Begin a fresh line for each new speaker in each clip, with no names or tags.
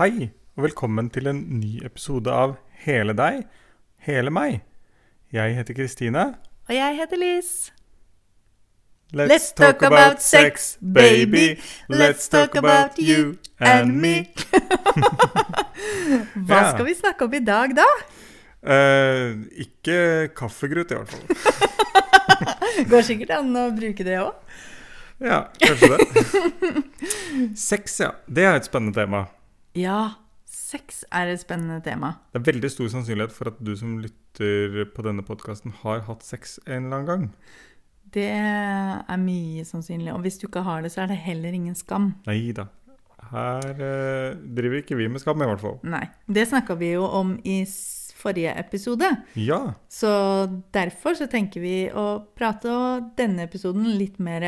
Hei, og velkommen til en ny episode av Hele deg, hele meg. Jeg heter Kristine.
Og jeg heter Liz. Let's talk about sex, baby. Let's talk about you and me. Hva
Ja.
skal vi snakke om i dag, da?
Eh, ikke kaffegrut, i hvert fall.
Går sikkert an å bruke det òg.
Ja, kanskje det. Sex, ja. Det er et spennende tema.
Ja, sex er et spennende tema.
Det er veldig stor sannsynlighet for at du som lytter på denne podkasten, har hatt sex en eller annen gang.
Det er mye sannsynlig. Og hvis du ikke har det, så er det heller ingen skam.
Nei da. Her eh, driver ikke vi med skam, i hvert fall.
Nei. Det snakka vi jo om i s- forrige episode.
Ja.
Så derfor så tenker vi å prate om denne episoden litt mer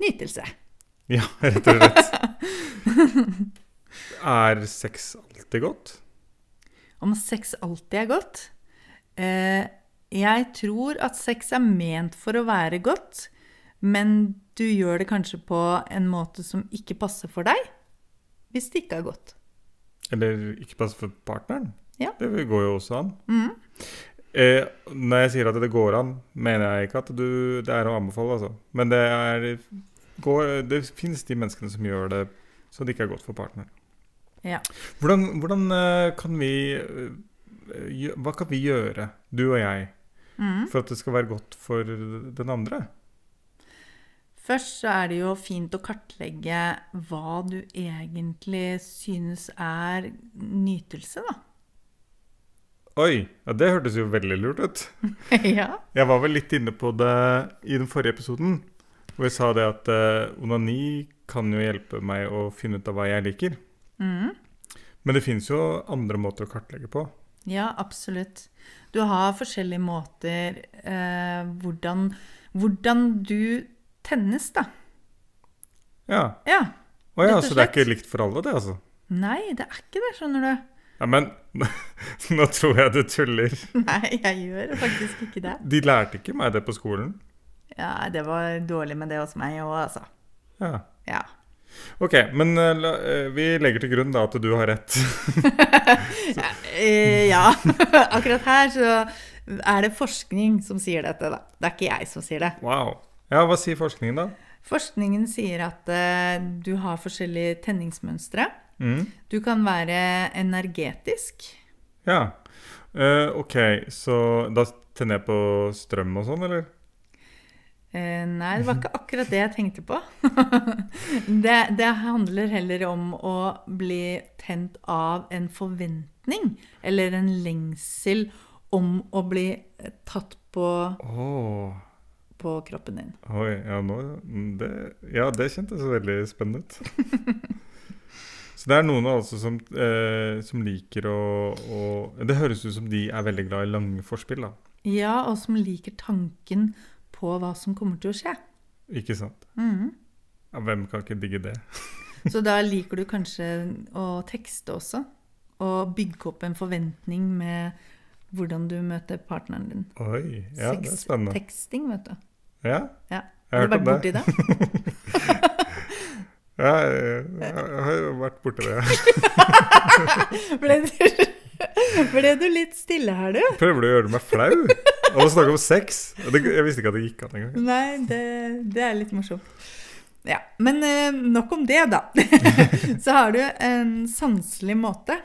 nytelse.
Ja, rett og slett. er sex alltid godt?
om sex alltid er godt. Eh, jeg tror at sex er ment for å være godt, men du gjør det kanskje på en måte som ikke passer for deg, hvis det ikke er godt.
Eller ikke passe for partneren?
Ja.
Det går jo også an.
Mhm.
Eh, når jeg sier at det går an, mener jeg ikke at du, det er å anbefale, altså. Men det, er, går, det finnes de menneskene som gjør det så det ikke er godt for partneren.
Ja.
Hvordan, hvordan eh, kan vi eh, gjø- Hva kan vi gjøre, du og jeg,
Mhm.
for at det skal være godt for den andre?
Først så er det jo fint å kartlegge hva du egentlig synes er nytelse, da.
Oi! Ja, det hørtes jo veldig lurt ut.
ja.
Jeg var vel litt inne på det i den forrige episoden, hvor jeg sa det at eh, onani kan jo hjelpe meg å finne ut av hva jeg liker.
Mhm.
Men det fins jo andre måter å kartlegge på.
Ja, absolutt. Du har forskjellige måter eh, hvordan, hvordan du tennes, da.
Ja.
Ja.
Å ja,
Rett og
så det er
slett.
ikke likt for alle, det, altså.
Nei, det er ikke det, skjønner du.
Ja, men nå tror jeg du tuller.
Nei, jeg gjør faktisk ikke det.
De lærte ikke meg det på skolen.
Ja, det var dårlig med det hos meg òg, altså.
Ja.
Ja.
OK, men eh, la, eh, vi legger til grunn da at du har rett.
Eh, ja. Akkurat her så er det forskning som sier dette, da. Det er ikke jeg som sier det.
Wow. Ja, hva sier forskningen, da?
Forskningen sier at eh, du har forskjellige tenningsmønstre.
Mm.
Du kan være energetisk.
Ja. Eh, OK, så da tenner jeg på strøm og sånn, eller?
Eh, nei, det var ikke akkurat det jeg tenkte på. det, det handler heller om å bli tent av en forventning eller en lengsel om å bli tatt på,
Åh,
på kroppen din.
Oi, ja, nå, mm, det, ja, det kjentes veldig spennende ut. Så det er noen altså som, eh, som liker å, å Det høres ut som de er veldig glad i lange forspill, da.
Ja, og som liker tanken på hva som kommer til å skje.
Ikke sant?
Mhm.
Ja, hvem kan ikke digge det?
Så da liker du kanskje å tekste også. Og bygge opp en forventning med hvordan du møter partneren din.
Oi, ja, det er
Sex-
spennende.
Teksting, vet du.
Ja,
Ja.
jeg har
Har
hørt
du vært
om det.
borti det?
Ja, jeg, jeg, jeg har jo vært borti det.
Ble du, ble du litt stille her, du?
Prøver du å gjøre meg flau? Og å snakke om sex? Det, jeg visste ikke at det gikk an engang.
Nei, det, det er litt morsomt. Ja, Men eh, nok om det, da. Så har du en sanselig måte.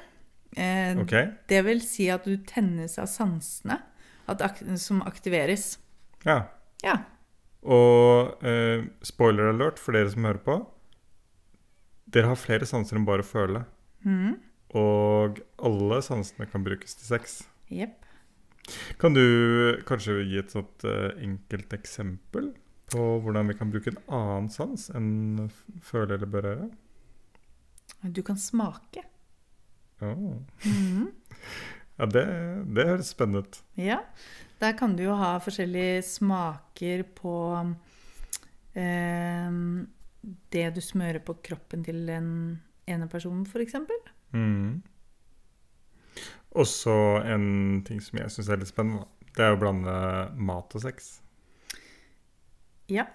Eh,
Ok,
Det vil si at du tennes av sansene at, ak- som aktiveres.
ja.
Ja.
Og eh, spoiler alert for dere som hører på. Dere har flere sanser enn bare å føle.
Mhm.
Og alle sansene kan brukes til sex.
Jepp.
Kan du kanskje gi et sånt eh, enkelt eksempel på hvordan vi kan bruke en annen sans enn f- føle eller berøre?
Du kan smake.
Åh.
Mhm.
Ja, det, det høres spennende ut.
Ja. Der kan du jo ha forskjellige smaker på eh, det du smører på kroppen til den ene personen, f.eks.
Mhm. Også en ting som jeg syns er litt spennende, da. det er å blande mat og sex.
Ja.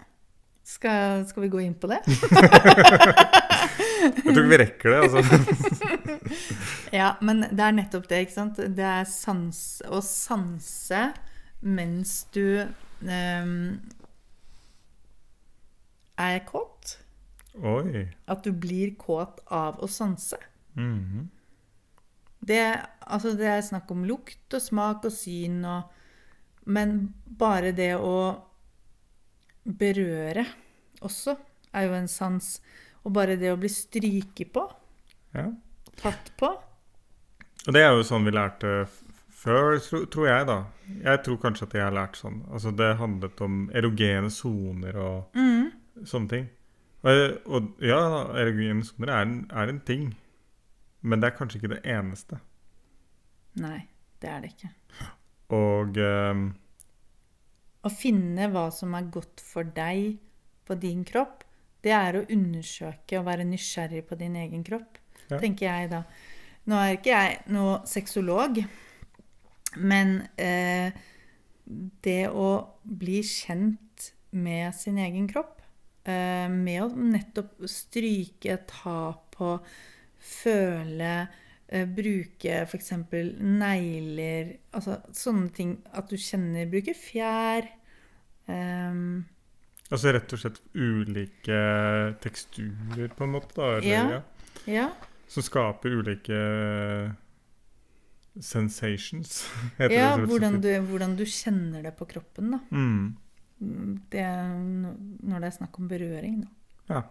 Skal, skal vi gå inn på det?
Jeg tror ikke vi rekker det. Altså.
Ja, men det er nettopp det, ikke sant? Det er sans, å sanse mens du ehm, er kåt.
Oi.
At du blir kåt av å sanse.
Mhm.
Det, altså det er snakk om lukt og smak og syn og Men bare det å berøre også er jo en sans. Og bare det å bli stryket på,
ja.
tatt på
Og det er jo sånn vi lærte f- før, tro, tror jeg, da. Jeg tror kanskje at jeg har lært sånn. Altså, det handlet om erogene soner og sånne ting. Og, og ja, erogene soner er, en- er en ting. Men det er kanskje ikke det eneste.
Nei, det er det ikke.
Og ehm,
Å finne hva som er godt for deg på din kropp, det er å undersøke og være nysgjerrig på din egen kropp,
Ja.
tenker jeg da. Nå er ikke jeg noe sexolog, men eh, det å bli kjent med sin egen kropp, eh, med å nettopp stryke, ta på, føle, eh, bruke f.eks. negler Altså sånne ting at du kjenner Bruke fjær. ehm,
altså rett og slett ulike teksturer, på en måte, da. Eller,
Ja.
ja,
ja.
som skaper ulike sensations, heter
ja
det. så-
hvordan, du, hvordan du kjenner det på kroppen, da.
mm.
Mm, Det, er n- når det er snakk om berøring, da.
Ja.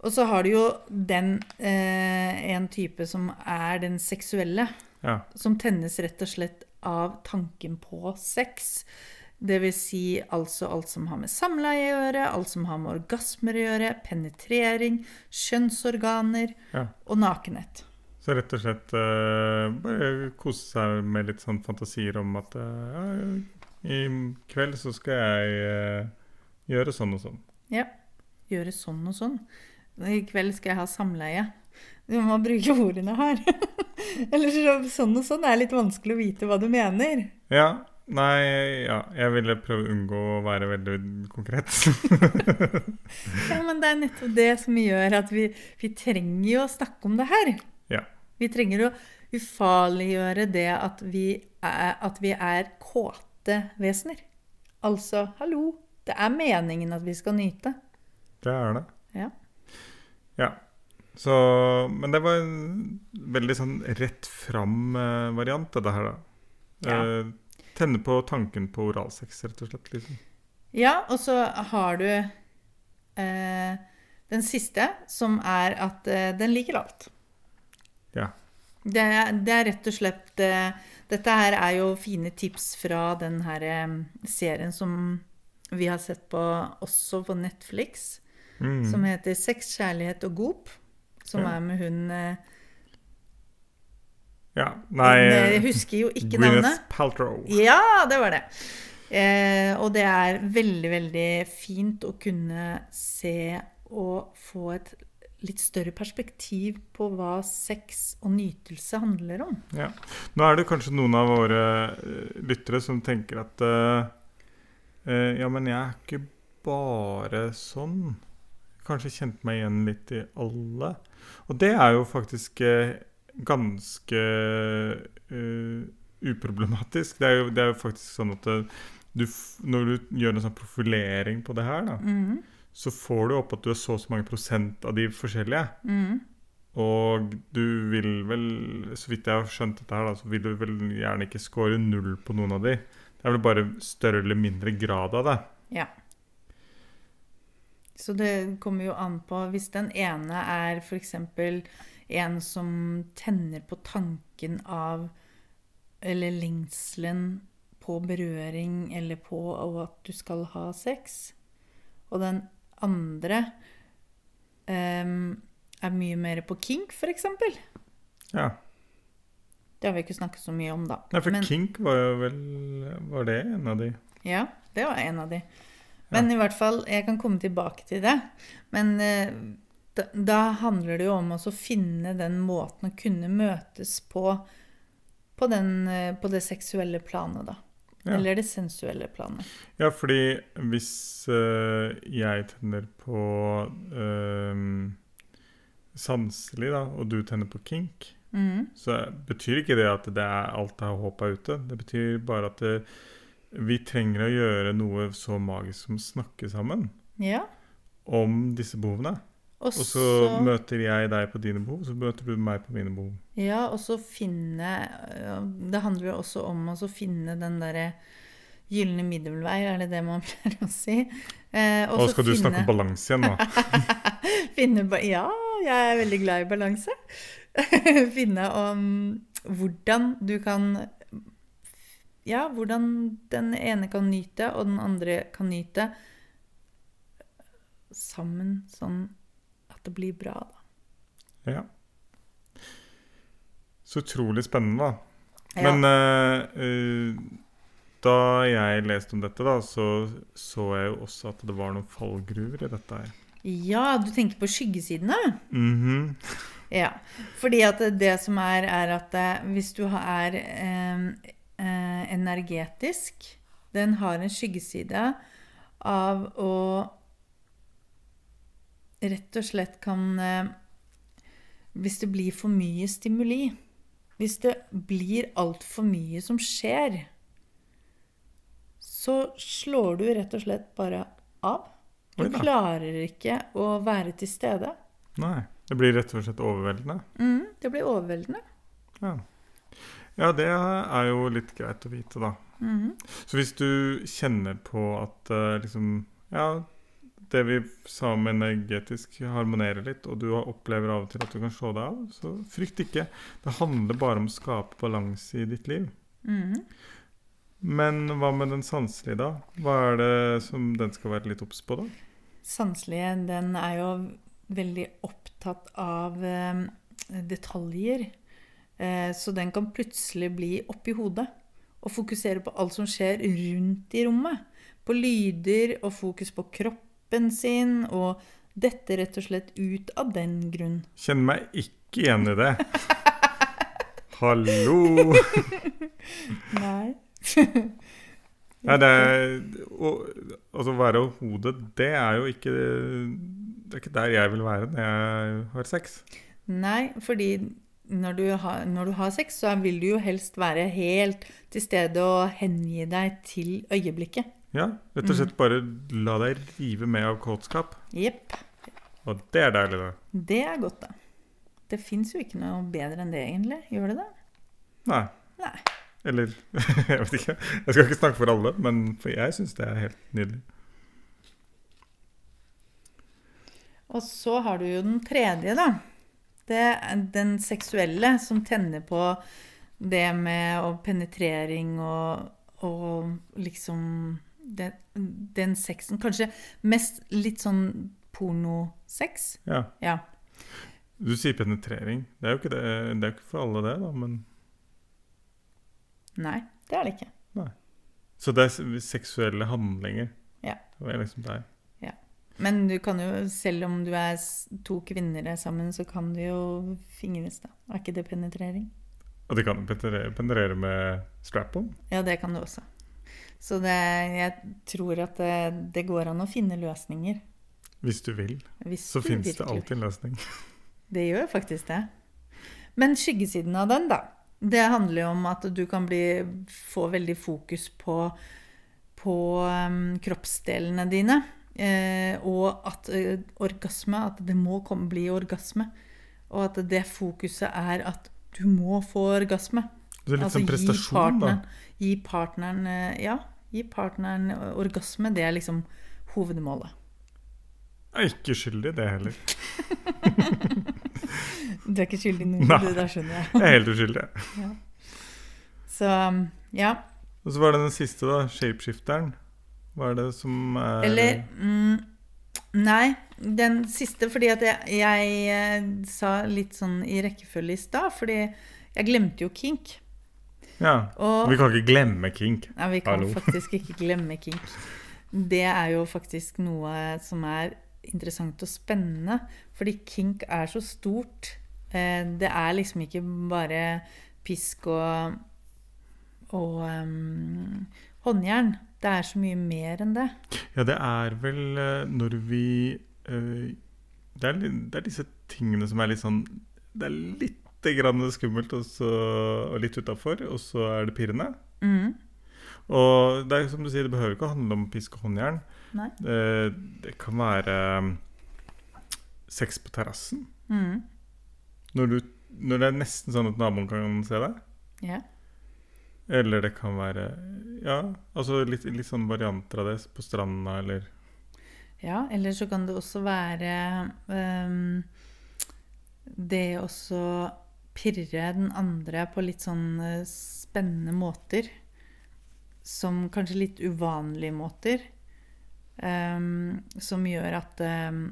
Og så har du jo den eh, en type som er den seksuelle.
ja.
som tennes rett og slett av tanken på sex. Det vil si altså alt som har med samleie å gjøre, alt som har med orgasmer å gjøre, penetrering, kjønnsorganer
Ja.
og nakenhet.
Så rett og slett eh, bare kose seg med litt sånn fantasier om at eh, ja, i kveld så skal jeg eh, gjøre sånn og sånn.
Ja. Gjøre sånn og sånn. I kveld skal jeg ha samleie. Du må bruke ordene her. Eller så- sånn og sånn er litt vanskelig å vite hva du mener.
Ja, nei, ja, jeg ville prøve å unngå å være veldig konkret.
Ja, men det er nettopp det som gjør at vi, vi trenger jo å snakke om det her.
Ja.
Vi trenger å ufarliggjøre det at vi er, at vi er kåte vesener. Altså, hallo, det er meningen at vi skal nyte.
det er det.
Ja.
Ja. Så, men det var en veldig sånn rett fram-variant, dette her, da.
Ja.
Eh, tenne på tanken på oralsex, rett og slett. Liksom.
Ja, og så har du eh, den siste, som er at eh, den liker alt.
Ja.
Det, er- det er rett og slett eh, Dette her er jo fine tips fra den her eh, serien som vi har sett på også på Netflix,
Mm.
som heter 'Sex, kjærlighet og goop'. Som
Ja.
er med hun eh,
ja.
hun, eh,
Nei,
Jeg husker jo ikke navnet.
Gwyneth Paltrow.
Ja, det var det. Eh, og det er veldig, veldig fint å kunne se og få et litt større perspektiv på hva sex og nytelse handler om.
Ja. Nå er det kanskje noen av våre eh, lyttere som tenker at eh, eh, Ja, men jeg er ikke bare sånn. Kanskje kjente meg igjen litt i alle. Og det er jo faktisk eh, ganske eh, uproblematisk. Det er, jo, det er jo faktisk sånn at eh, du, f- når du gjør en sånn profilering på det her, da,
Mhm,
så får du opp at du er så og så mange prosent av de forskjellige.
mhm.
Og du vil vel, så vidt jeg har skjønt dette her, da, så vil du vel gjerne ikke score null på noen av de. Det er vel bare større eller mindre grad av det.
Så det kommer jo an på Hvis den ene er f.eks. en som tenner på tanken av Eller lengselen på berøring eller på og at du skal ha sex, og den andre ehm, er mye mer på kink, f.eks. Det
Ja.
har vi ikke snakket så mye om, da.
Nei, for
Men-
kink var jo vel Var det en av de?
Ja, det var en av de. Men i hvert fall, jeg kan komme tilbake til det. Men eh, da, da handler det jo om også å finne den måten å kunne møtes på på, den, eh, på det seksuelle planet, da.
Ja.
Eller det sensuelle planet.
Ja, fordi hvis eh, jeg tenner på eh, sanselig, da, og du tenner på kink,
Mm.
så betyr ikke det at det er alt av håp er ute. Det betyr bare at det, vi trenger å gjøre noe så magisk som snakke sammen
Ja.
om disse behovene.
Og
Og så møter jeg deg på dine behov, så møter du meg på mine behov.
Ja, og så finne øh, Det handler jo også om å så finne den derre gylne middelvei, er det det man pleier å si? Eh, og
Og
så
skal du snakke
finne,
balanse igjen, da.
finne ba- Ja, jeg er veldig glad i balanse. finne om hvordan du kan Ja, hvordan den ene kan nyte, og den andre kan nyte sammen, sånn at det blir bra, da.
Ja. Så utrolig spennende, da.
Ja.
Men eh, eh, da jeg leste om dette, da, så så jeg jo også at det var noen fallgruver i dette her.
ja, du tenker på skyggesidene?
Mhm.
Ja, fordi at det som er, er at eh, hvis du ha- er eh, eh, energetisk, den har en skyggeside av å rett og slett kan eh, Hvis det blir for mye stimuli, hvis det blir altfor mye som skjer, så slår du rett og slett bare av. Du
Oi da.
klarer ikke å være til stede.
Nei. Det blir rett og slett overveldende.
Mm, det blir overveldende.
Ja. ja, det er jo litt greit å vite, da.
Mhm.
Så hvis du kjenner på at eh, liksom Ja, det vi sa om energetisk harmonerer litt, og du opplever av og til at du kan slå deg av, så frykt ikke. Det handler bare om å skape balanse i ditt liv.
Mhm.
Men hva med den sanselige, da? Hva er det som den skal være litt obs på, da?
Sanselige, den er jo veldig opptatt av eh, detaljer. Eh, så den kan plutselig bli oppi hodet og fokusere på alt som skjer rundt i rommet. På lyder og fokus på kroppen sin, og dette rett og slett ut av den grunn.
Kjenner meg ikke igjen i det. Hallo!
Nei.
Nei, det er, og, altså være hodet, det er jo ikke Det er ikke der jeg vil være når jeg har sex.
Nei, fordi når du, har, når du har sex, så vil du jo helst være helt til stede og hengi deg til øyeblikket.
Ja, Rett og
Mm.
slett bare la deg rive med av kåtskap.
Jepp.
Og det er deilig, det.
Det er godt, da. Det fins jo ikke noe bedre enn det, egentlig. Gjør det det?
Nei.
Nei.
Eller Jeg vet ikke. Jeg skal ikke snakke for alle, men for jeg syns det er helt nydelig.
Og så har du jo den tredje, da. Det er den seksuelle som tenner på det med å penetrering og, og liksom den, den sexen. Kanskje mest litt sånn pornosex.
Ja.
Ja.
Du sier penetrering. Det er jo ikke, det, det er jo ikke for alle, det, da, men
Nei, det er det ikke.
Så det er seksuelle handlinger.
Ja.
Det var liksom deg.
Men du kan jo, selv om du er s- to kvinner er sammen, så kan du jo fingres, da. Er ikke det penetrering?
Og de kan penetrere, penetrere med strap-on.
Ja, det kan du også. Så det, jeg tror at det, det går an å finne løsninger.
Hvis du vil,
Hvis
så
du
fins det
virkelig-
alltid en løsning.
Det gjør faktisk det. Men skyggesiden av den, da. Det handler jo om at du kan bli, få veldig fokus på, på em, kroppsdelene dine. Eh, og at eh, orgasme At det må komme, bli orgasme. Og at det fokuset er at du må få orgasme.
Det er litt
Altså,
sånn prestasjon, da.
partneren, gi partneren eh, Ja, gi partneren orgasme. Det er liksom hovedmålet.
Jeg er ikke skyldig i det heller.
Du er ikke skyldig i noe,
Nei.
du. Da skjønner jeg.
Jeg er helt uskyldig.
Så ja.
Og så var det den siste, da. Shapeshifteren. Hva er det som er
Eller mm, Nei, den siste, fordi at jeg, jeg eh, sa litt sånn i rekkefølge i stad, fordi jeg glemte jo kink.
Ja.
Og
Vi kan ikke glemme kink.
Nei, vi kan
Hallo.
faktisk ikke glemme kink. Det er jo faktisk noe som er interessant og spennende, fordi kink er så stort. Eh, Det er liksom ikke bare pisk og, og em, håndjern. Det er så mye mer enn det.
Ja, det er vel eh, når vi eh, det, er, li- det er disse tingene som er litt sånn Det er lite grann skummelt og, så, og litt utafor, og så er det pirrende.
Mm.
Og det er som du sier, det behøver ikke å handle om pisk og håndjern.
Nei.
Eh, Det kan være eh, sex på terrassen.
Mm.
Når, du- når det er nesten sånn at naboen kan se deg.
Ja.
Eller det kan være Ja, altså litt, litt sånn varianter av det på stranda eller
ja. Eller så kan det også være ehm, det å så pirre den andre på litt sånn eh, spennende måter. Som kanskje litt uvanlige måter. ehm, som gjør at ehm,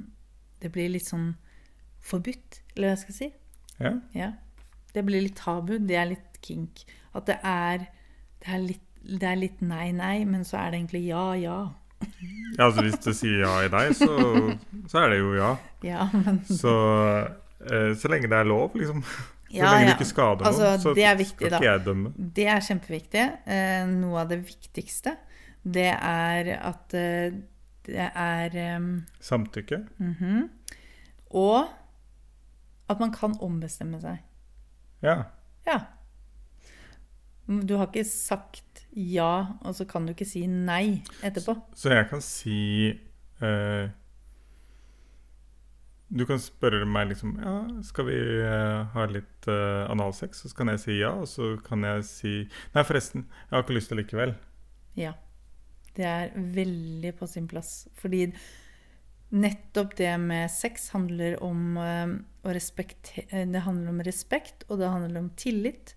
det blir litt sånn forbudt, eller hva jeg skal si.
Ja.
Ja. Det blir litt tabu. Det er litt kink. At det er, det er, litt, det er litt nei, nei, men så er det egentlig ja, ja.
ja altså hvis det sier ja i deg, så, så er det jo ja.
Ja, men
Så, eh, så lenge det er lov, liksom. Så
ja,
lenge
ja.
du ikke skader noen,
Altså,
så
det er viktig,
skal
da.
ikke jeg dømme.
Det er kjempeviktig. Eh, Noe av det viktigste, det er at eh, det er em,
Samtykke.
mhm. Og at man kan ombestemme seg.
Ja.
Ja. Du har ikke sagt ja, og så kan du ikke si nei etterpå.
Så jeg kan si eh, Du kan spørre meg liksom Ja, skal vi eh, ha litt eh, analsex? Så kan jeg si ja, og så kan jeg si Nei, forresten, jeg har ikke lyst til likevel.
Ja. Det er veldig på sin plass. Fordi nettopp det med sex handler om eh, å respekte- eh, Det handler om respekt, og det handler om tillit,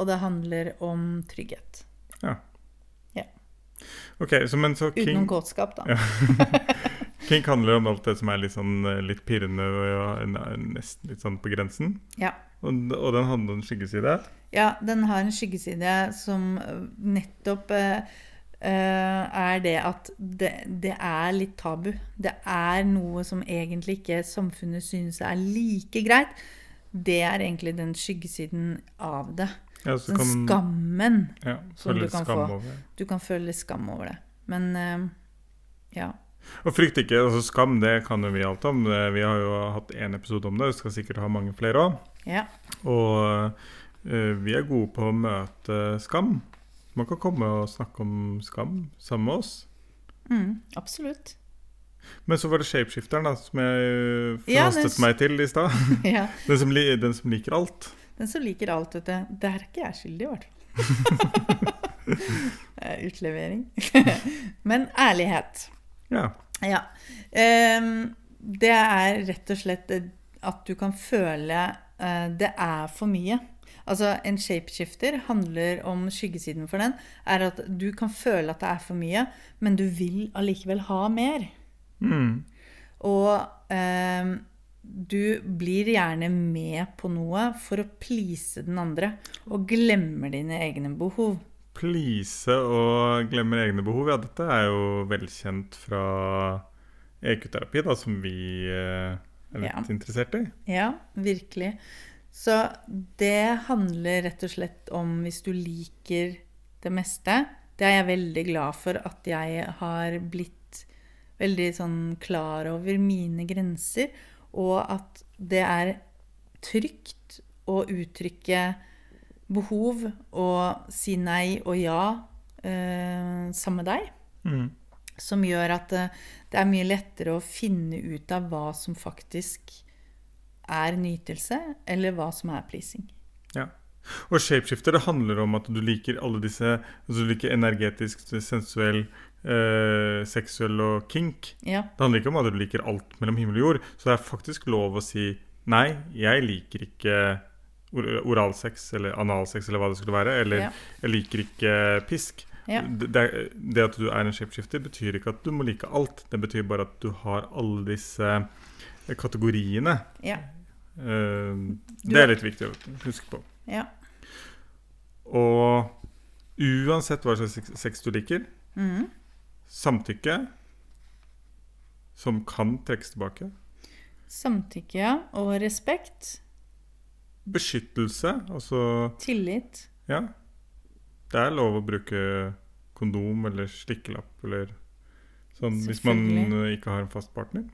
og det handler om trygghet.
Ok, så, men så
Utenom
King,
kåtskap, da.
Ja. King handler jo om alt det som er litt sånn eh, litt pirrende og ja, n- nesten litt sånn på grensen.
Ja.
Og, og den handler om skyggeside.
Ja, den har en skyggeside som eh, nettopp eh, eh, er det at det, det er litt tabu. Det er noe som egentlig ikke samfunnet synes er like greit. Det er egentlig den skyggesiden av det.
Ja, så
Den
kan-
skammen.
Ja,
som du
føle
kan
skam
få.
over.
Du kan føle skam over det. Men eh, ja.
Og frykt ikke, altså skam det kan jo vi alt om. Det- Vi har jo hatt én episode om det, vi skal sikkert ha mange flere òg.
ja.
Og eh, vi er gode på å møte skam. Man kan komme og snakke om skam sammen med oss.
Mm, absolutt.
Men så var det shapeshifteren da, som jeg eh,
Ja,
forhastet
den-
meg til i stad.
ja.
Den, som li- den som liker alt.
Den som liker alt, vet du. Der er ikke jeg skyldig, i hvert fall. Det er Utlevering. Men ærlighet.
Ja.
Ja. Ehm, det er rett og slett at du kan føle eh, det er for mye. Altså, en shapeshifter handler om skyggesiden for den. Er at du kan føle at det er for mye, men du vil allikevel ha mer.
Mm.
Og eh, du blir gjerne med på noe for å please den andre, og glemmer dine egne behov.
Please og glemmer egne behov. Ja, dette er jo velkjent fra EQ-terapi, da, som vi eh, er litt
Ja.
interessert i.
Ja, virkelig. Så det handler rett og slett om hvis du liker det meste. Det er jeg veldig glad for at jeg har blitt veldig sånn klar over mine grenser, og at det er trygt å uttrykke behov og si nei og ja eh, sammen med deg
Mm.
som gjør at eh, det er mye lettere å finne ut av hva som faktisk er nytelse, eller hva som er pleasing.
Ja. Og shapeshifter det handler om at du liker alle disse altså Du liker energetisk, sensuell, eh, seksuell og kink.
Ja,
Det handler ikke om at du liker alt mellom himmel og jord. Så det er faktisk lov å si nei, jeg liker ikke or oralsex eller analsex eller hva det skulle være. Eller
Ja.
jeg liker ikke pisk.
Ja.
Det, det er- det at du er en shapeshifter, betyr ikke at du må like alt. Det betyr bare at du har alle disse eh, kategoriene.
ja,
Eh,
Du
det
er-
er litt viktig å huske på.
ja.
Og uansett hva slags sex- sex du liker,
Mhm.
samtykke som kan trekkes tilbake,
Samtykke og respekt,
beskyttelse, altså
tillit.
ja, det er lov å bruke kondom eller slikkelapp eller sånn hvis man eh, ikke har en fast partner.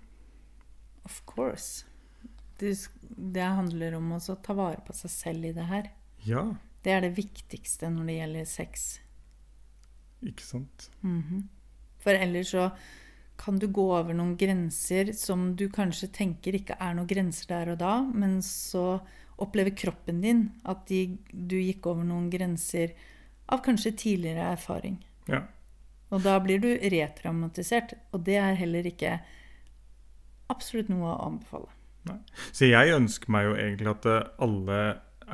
Of course. det, sk- det handler om også å ta vare på seg selv i det her.
Ja,
Det er det viktigste når det gjelder sex.
ikke sant?
Mhm. For ellers så kan du gå over noen grenser som du kanskje tenker ikke er noen grenser der og da, men så opplever kroppen din at de, du gikk over noen grenser av kanskje tidligere erfaring.
Ja.
Og da blir du retraumatisert, og det er heller ikke absolutt noe å anbefale.
Så jeg ønsker meg jo egentlig at eh, alle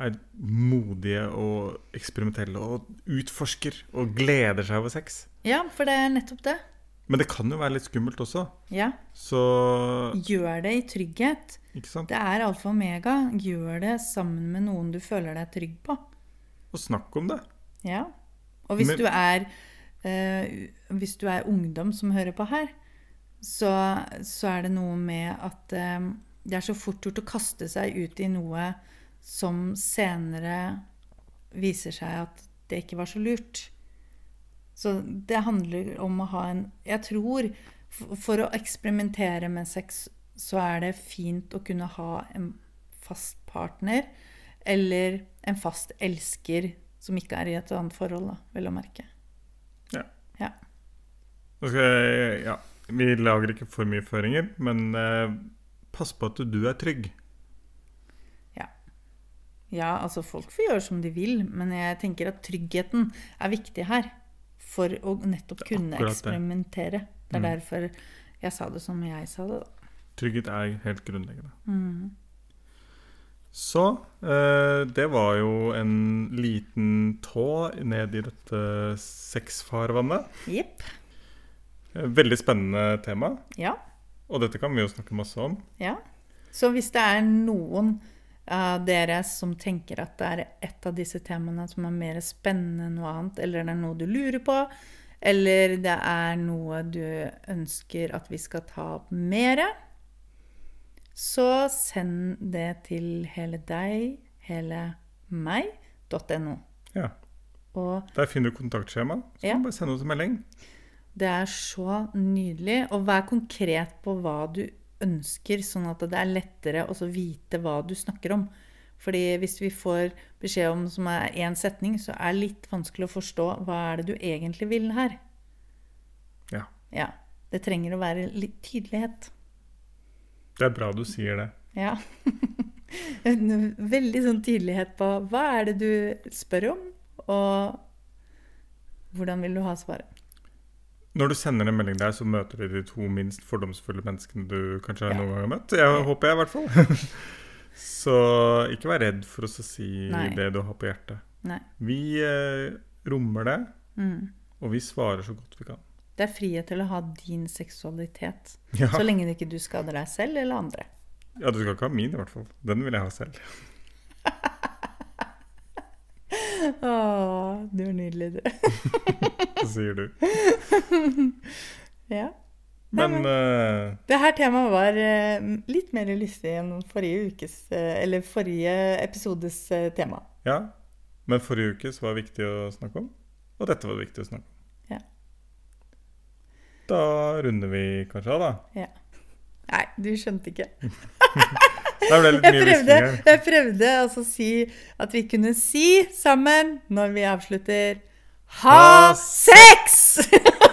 er modige og eksperimentelle og utforsker og gleder seg over sex.
Ja, for det er nettopp det.
Men det kan jo være litt skummelt også.
Ja,
Så
Gjør det i trygghet.
Ikke sant?
Det er alfa og omega. Gjør det sammen med noen du føler deg trygg på.
Og snakk om det.
Ja. Og hvis,
Men-
du er, eh, hvis du er ungdom som hører på her, så, så er det noe med at eh, det er så fort gjort å kaste seg ut i noe som senere viser seg at det ikke var så lurt. Så det handler om å ha en Jeg tror f- for å eksperimentere med sex, så er det fint å kunne ha en fast partner eller en fast elsker som ikke er i et annet forhold, da, vel å merke.
Nå skal jeg, ja, vi lager ikke for mye føringer, men eh, pass på at du er trygg.
Ja, altså folk får gjøre som de vil, men jeg tenker at tryggheten er viktig her. For å nettopp
Det er akkurat
kunne
det.
eksperimentere. Det er
Mm.
derfor jeg sa det som jeg sa det, da.
Trygghet er helt grunnleggende.
Mm.
Så eh, det var jo en liten tå ned i dette sexfarvannet.
Jepp.
Eh, Veldig spennende tema,
Ja.
og dette kan vi jo snakke masse om.
Ja. Så hvis det er noen av dere som tenker at det er et av disse temaene som er mer spennende enn noe annet, eller det er noe du lurer på, eller det er noe du ønsker at vi skal ta opp mere, så send det til hele deg, hele meg.no.
Ja,
Og
Der finner du kontaktskjema, så
Ja.
kan du bare sende oss en melding.
Det er så nydelig. Og vær konkret på hva du ønsker, sånn at det er lettere å så vite hva du snakker om. Fordi hvis vi får beskjed om som er én setning, så er det litt vanskelig å forstå hva er det du egentlig vil her.
Ja.
Ja. Det trenger å være litt tydelighet.
Det er bra du sier det.
Ja. En Veldig sånn tydelighet på hva er det du spør om, og hvordan vil du ha svaret.
Når du sender en melding der, så møter du de to minst fordomsfulle menneskene du kanskje har
Ja.
noen gang har møtt. Jeg håper jeg, i hvert fall. så ikke vær redd for oss å si
Nei.
det du har på hjertet.
Nei.
Vi eh, rommer det,
Mm.
og vi svarer så godt vi kan.
Det er frihet til å ha din seksualitet.
Ja.
Så lenge det ikke du skader deg selv eller andre.
ja, du skal ikke ha min i hvert fall. Den vil jeg ha selv.
Åh, du er nydelig, du.
Så sier du.
Ja.
Men eh,
Det her temaet var eh, litt mer lystig enn forrige ukes, eh, eller forrige episodes eh, tema.
ja. Men forrige uke så var det viktig å snakke om, og dette var det viktig å snakke om.
Ja.
Da runder vi kanskje av, da.
Nei, du skjønte ikke.
Der ble det litt mye
Jeg prøvde,
hvisking her.
jeg prøvde altså å si at vi kunne si sammen, når vi avslutter Ha
Ha
sex!